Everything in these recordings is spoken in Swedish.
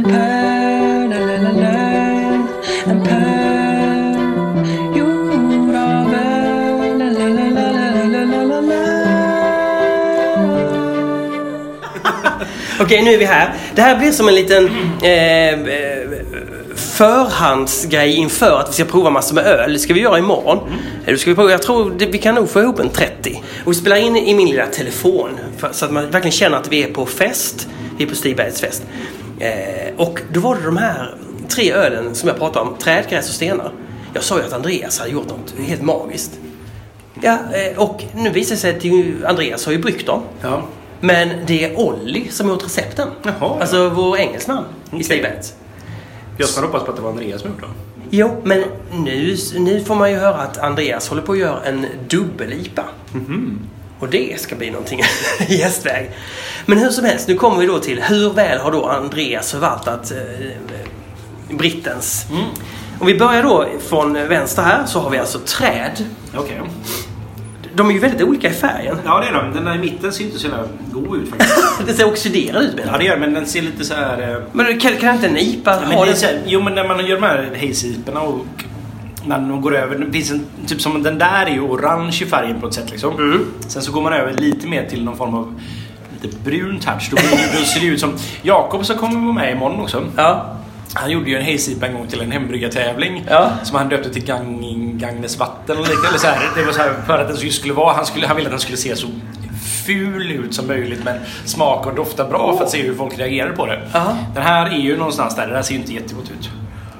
pöl, lalalala. En pöl gjord av öl, lalalalalalala. Okej, nu är vi här. Det här blir som en liten eh, eh, förhandsgrej inför att vi ska prova massor med öl. Det ska vi göra imorgon. Då ska vi prova, jag tror det, vi kan nog få ihop en 30. Och vi spelar in i min lilla telefon för, så att man verkligen känner att vi är på fest. Vi är på Stigbergets fest. Eh, och då var det de här tre ölen som jag pratade om. Träd, gräs och stenar. Jag sa ju att Andreas hade gjort något helt magiskt. Ja, eh, och nu visar det sig att ju- Andreas har ju bryggt dem. Ja. Men det är Olli som har gjort recepten. Jaha, ja. Alltså vår engelsman i Stay Bats. Jag skulle hoppas på att det var Andreas som gjort det. Jo, men nu, nu får man ju höra att Andreas håller på att göra en dubbel-IPA. Och det ska bli någonting i gästväg. Men hur som helst, nu kommer vi då till hur väl har då Andreas förvaltat eh, brittens... Om vi börjar då från vänster här så har vi alltså träd. Okej. De är ju väldigt olika i färgen. Ja, det är de. Den där i mitten ser inte så jävla god ut faktiskt. Det ser oxiderad ut menar ja, jag. det gör den, men den ser lite så här... Eh... Men kan, kan inte en IPA Ja, ha men det är det? så här, jo, men när man gör de här hejsiporna och när de går över, det finns en, typ som den där är ju orange i färgen på ett sätt liksom. Sen så går man över lite mer till någon form av lite brun touch. Då, blir- då ser det ut som Jakob som kommer vara med imorgon också. Ja. Han gjorde ju en hejsipa en gång till en hembryggartävling Ja. som han döpte till Gang, Gagnes vatten eller liknande. Eller så här, det var så här för att den så skulle vara. Han, skulle, han ville att den skulle se så ful ut som möjligt men smaka och dofta bra för att se hur folk reagerade på det. Aha. Den här är ju någonstans där. Den här ser ju inte jättegott ut.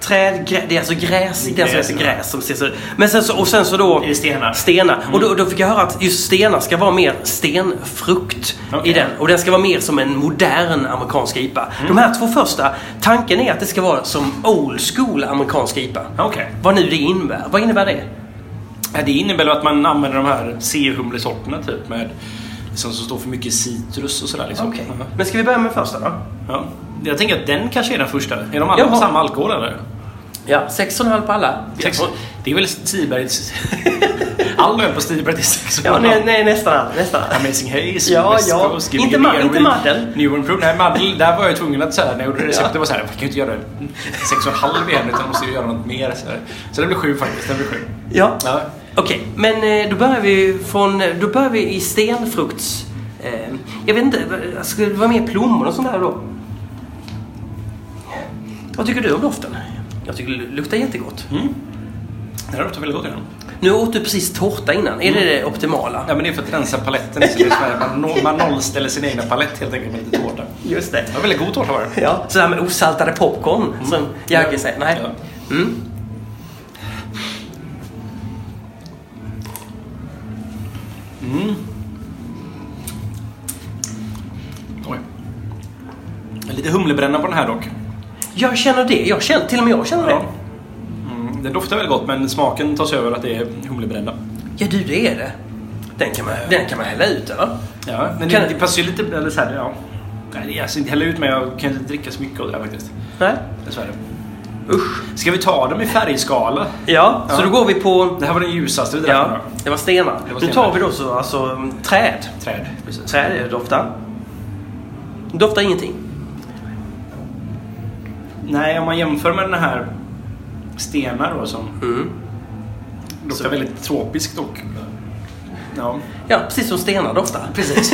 Träd, grä, det är alltså gräs. Det är alltså Gräs, inte ja. gräs som ser så... Men sen så, och sen så då... Det är stenar. Mm. Stenar. Och då, då fick jag höra att just stenar ska vara mer stenfrukt i Okej. Mm. den. Och den ska vara mer som en modern amerikansk IPA. De här två första, tanken är att det ska vara som old school amerikansk IPA. Okej. Vad nu det innebär. Vad innebär det? Ja, Det innebär väl att man använder de här C-humlesorterna typ med liksom, som står för mycket citrus och sådär liksom. Okej. Ja. Men ska vi börja med första då? Ja. Jag tänker att den kanske är den första. Är de alla Jaha. på samma alkohol eller? Ja, 6,5 på alla. Sex- Det är väl Stibergs... All öl på Stiberg är sex Ja, nej, nej, nästan all, nästan all. Amazing Haze, Ja, West ja. Coast, Gimme Inte Gimme ma- Airwick, inte Madden. New Improved. Nej, Madden, där var jag tvungen att säga när jag gjorde receptet. var så här, jag kan ju inte göra 6,5 igen utan jag måste ju göra något mer. Så, här. så det blir sju faktiskt. Det blir sju. Ja. Ja. Okej, men eh, då börjar vi från, då börjar vi i stenfrukts... Eh, jag vet inte, vad- ska det vara mer plommon och sånt där då? Vad tycker du om doften? Jag tycker det luktar jättegott. Den här luktar väldigt gott i den. Nu åt du precis tårta innan, är det det optimala? Mm. Ja, men det är för att rensa paletten. Så det är så här, man, no- man nollställer sin egna palett helt enkelt med lite tårta. Just det. Det var väldigt god tårta var det. Ja. Sådär med osaltade popcorn som Jagge säger. Nej. Ja. Mm. Oj. Lite humlebränna på den här dock. Jag känner det, jag känner, till och med jag känner det. Ja. Mm, det doftar väldigt gott men smaken tas över att det är humlebränna. Ja du, det är det. Den kan man, den kan man hälla ut eller? Ja, men Kan- det, det passar ju lite... Eller så här, ja. Nej, det är alltså inte heller ut men jag kan inte dricka så mycket av det här faktiskt. Nej. Dessvärre. Usch. Ska vi ta dem i färgskala? Ja, så Ja. då går vi på... Det här var den ljusaste vi drack Ja, nu det var stenar. Det var Nu stenar. tar vi då så, alltså mm, träd. då. Träd. Precis. Träd är det doftar. Doftar ingenting. Nej, om man jämför med den här stenar då som Mm. doftar väldigt tropiskt och... Ja. Ja, precis som stenar doftar. Precis.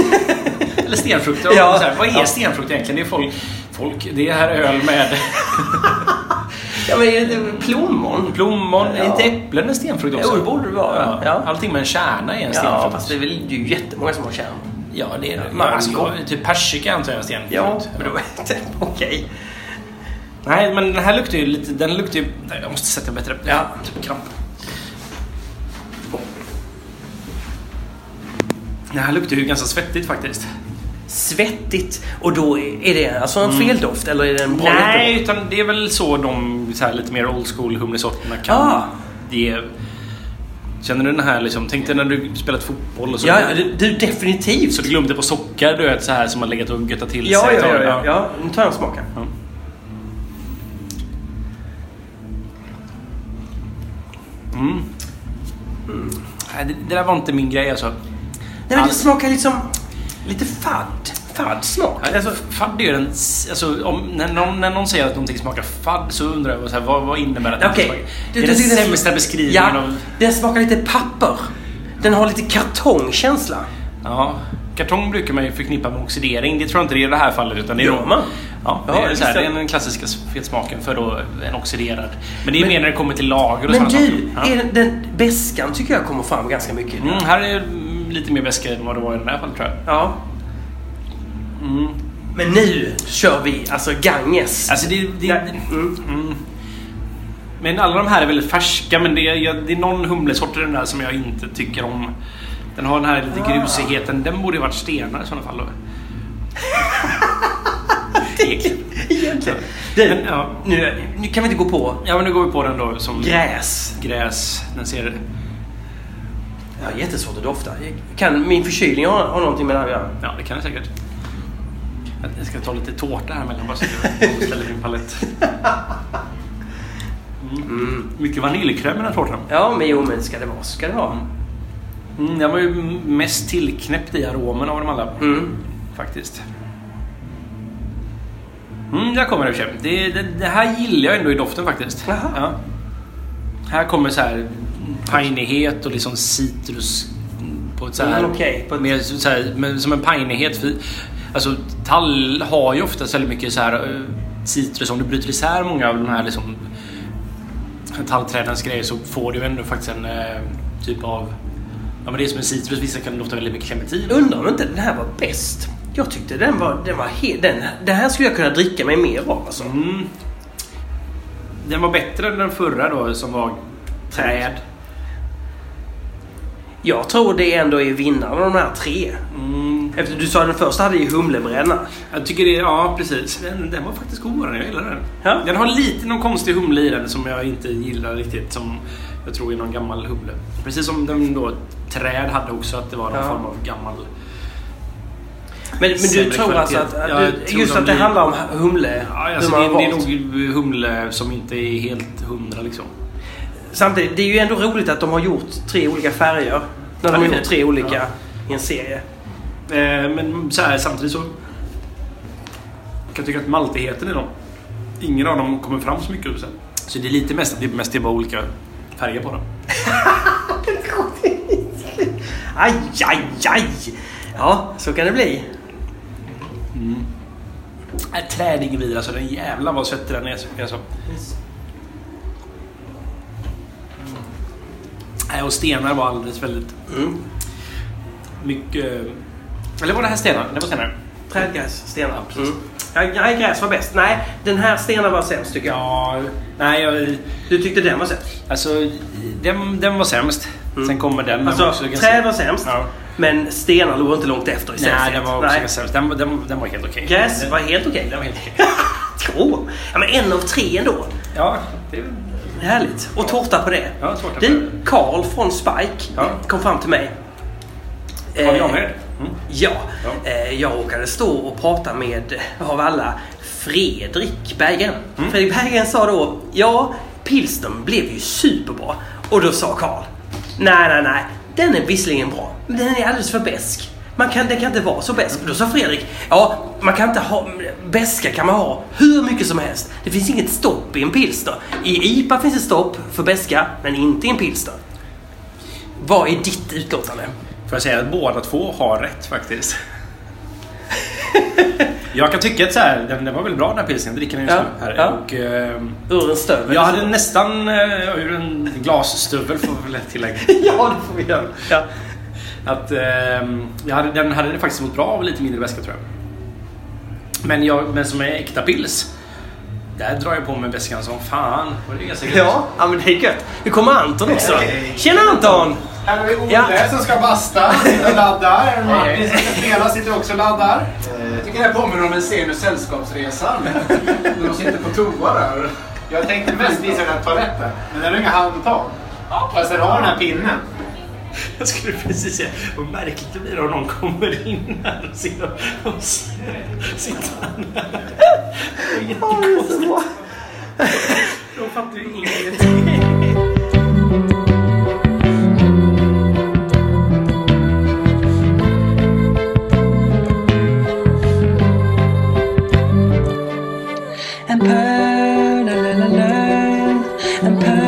Eller stenfrukt. Ja. Ja. Så här, vad är Ja. stenfrukt egentligen? Det är folk, folk... Det är här öl med Ja, men är det plommon? plommon. Ja. Är inte äpplen en stenfrukt också? Jo, det borde det vara. Ja. Allting med en kärna är en stenfrukt. Ja, fast det är väl det är ju jättemånga som har kärn. Ja, det är det. mango. Alltså, jag- typ persika antar jag är stenfrukt. Ja, men då okej. Nej, men den här luktar ju lite... Den luktar ju... Nej, jag måste sätta bättre... Ja, typ kramp. Den här luktar ju ganska svettigt faktiskt. Svettigt. Och då är det alltså en feldoft eller är det en bra lukt? Nej, utan det är väl så de så här, lite mer old school humlesorterna kan Ah. ge... Känner du den här liksom? Tänk dig när du spelat fotboll och så. Ja, du, du definitivt. Så du glömde på sockar du vet så här som har legat och göttat till Ja, sig. ja, ja, ett tag. ja, ja. Nu tar jag en smak här. Ja. Mm. Nej, det, det där var inte min grej alltså. Nej, men det Alltså- smakar liksom lite fadd. fadd smak? Alltså, fadd är ju den... s- Alltså, om, när, någon, när någon säger att någonting smakar fadd så undrar jag så här, vad, vad innebär det? att Okej. någonting smakar- Du- du Det är den tyckte- sämsta beskrivningen Ja, av... den smakar lite papper. Den har lite kartongkänsla. Ja. Kartong brukar man ju förknippa med oxidering. Det tror jag inte det är i det här fallet. Utan det är Gör man? Ja, det Jaha, är, så här, visst. det är den klassiska fetsmaken för då en oxiderad. Men det är Men- mer när det kommer till lager och Men sådana saker. du, Ja. är den, den, beskan tycker jag kommer fram ganska mycket. Mm, här är mm, lite mer väska än vad det var i den här fallet tror jag. Ja. Mm. Men nu kör vi alltså Ganges. Alltså det... det Mm. mm. Men alla de här är väldigt färska men det är, jag, det är någon humlesort i den där som jag inte tycker om. Den har den här Ah. lite grusigheten. Den borde ju varit stenar i sådana fall. då. Egentligen. Egentligen. Du, Men, ja. nu, nu kan vi inte gå på Ja men nu går vi på den då som gräs. gräs. Den ser... Jag har jättesvårt att dofta. Kan min förkylning ha, ha någonting med det här att göra? Ja det kan den säkert. Jag ska ta lite tårta här mellan bara så jag omställer min palett. Mm. Mycket vaniljkräm i den här tårtan. Ja, men jo, men ska det vara ska det vara. Mm, den var ju mest tillknäppt i aromen av dem alla. Mm. Faktiskt. Mm, där kommer det i och för sig. Det, det, det här gillar jag ändå i doften faktiskt. Jaha. Ja. Här kommer så här pinighet och liksom citrus på ett så här... Mm, okej. På ett- mer så här men som en pinighet. För, alltså tall har ju oftast väldigt mycket så här eh, citrus. Om du bryter isär många av de här liksom tallträdens grejer så får du ju ändå faktiskt en eh, typ av... Ja men det är som en citrus. Vissa kan dofta väldigt mycket clementin. Undrar om inte den här var bäst. Jag tyckte den var... Den, var he- den, den här skulle jag kunna dricka mig mer av alltså. Mm. Den var bättre än den förra då som var träd. Jag tror det ändå är vinnaren av de här tre. Mm. Efter du sa den första hade ju humlebränna. Jag tycker det, ja precis. Den, den var faktiskt god den, jag gillar den. Ja. Den har lite någon konstig humle i den som jag inte gillar riktigt. Som jag tror är någon gammal humle. Precis som den då träd hade också att det var någon Ja. form av gammal... Men, men du Sämre tror kvalitet. alltså att... att Ja, jag du, tror just de att det blir- handlar om humle. Ja, alltså, hur det, man har det är valt. nog humle som inte är helt hundra liksom. Samtidigt, det är ju ändå roligt att de har gjort tre olika färger. När de Ja, har det är gjort tre det. olika Ja. i en serie. Eh, men så här, samtidigt så kan jag tycka att maltigheten i dem, ingen av dem kommer fram så mycket. Sen. Så det är lite mest att det mest är bara olika färger på dem. Aj, aj, aj! Ja, så kan det bli. Äh, träd är inget vidare, alltså den jävla vad svettig den är. Alltså. Äh, och stenar var alldeles väldigt Mm. mycket... eh, Eller var det här stenar? Det var stenar. Trädgräs, stenar. Mm. Ja, nej, gräs var bäst. Nej, den här stenen var sämst tycker jag. Ja, nej, jag, Du tyckte den var sämst. alltså den, den var sämst. Sen kommer den. den Mm. var Alltså, också ganska- träd var sämst. Ja. Men stenar låg inte långt efter i Nej, sämsthet. den var också ganska sämst. Den, den, den var helt okej. Gräs Den- var helt okej. den var helt okej. Två! Ja, men en av tre ändå. Ja, det, Härligt. Och tårta på det. Ja, tårta på du, det. Karl från Spike Ja. kom fram till mig. var jag Eh, med? Mm. Ja, Ja. Eh, jag råkade stå och prata med, av alla, Fredrik Berggren. Mm. Fredrik Berggren sa då, ja, pilsnern blev ju superbra. Och då sa Karl, nej, nej, nej, den är visserligen bra, men den är alldeles för besk. Man kan, den kan inte vara så besk. Då sa Fredrik, ja, man kan inte ha, beska kan man ha hur mycket som helst. Det finns inget stopp i en pilsner. I IPA finns ett stopp för beska, men inte i en pilsner. Vad är ditt utlåtande? Får jag säga att båda två har rätt faktiskt. jag kan tycka att så här, den, den var väl bra den här pilsnern. Jag dricker den just Ja, nu. Här. ja. Och, ehm, Ur en stövel? jag hade nästan eh, ur en glasstövel får vi väl tillägga. Ja, det får vi göra. Ja. Att, ehm, jag hade, den hade det faktiskt mått bra av lite mindre väska tror jag. Men, jag, men som är äkta pils. Där drar jag på mig väskan som fan. Och det är ganska gött. Ja, ja, men det är gött. Nu kommer Anton också. Hej. Tjena Anton! Här har vi Olle Ja. som ska basta, sitter och laddar. hej. Martin som ska spela, sitter också och laddar. Eh. Jag tycker det här påminner om en scen ur Sällskapsresan. När de sitter på toa där. Jag tänkte mest visa den här toaletten, men den har inga handtag. Fast den har den här pinnen. Jag skulle precis säga vad märkligt det blir om någon kommer in här och ser oss sitta här. De fattar ju ingenting. Empire, la la la la, Empire.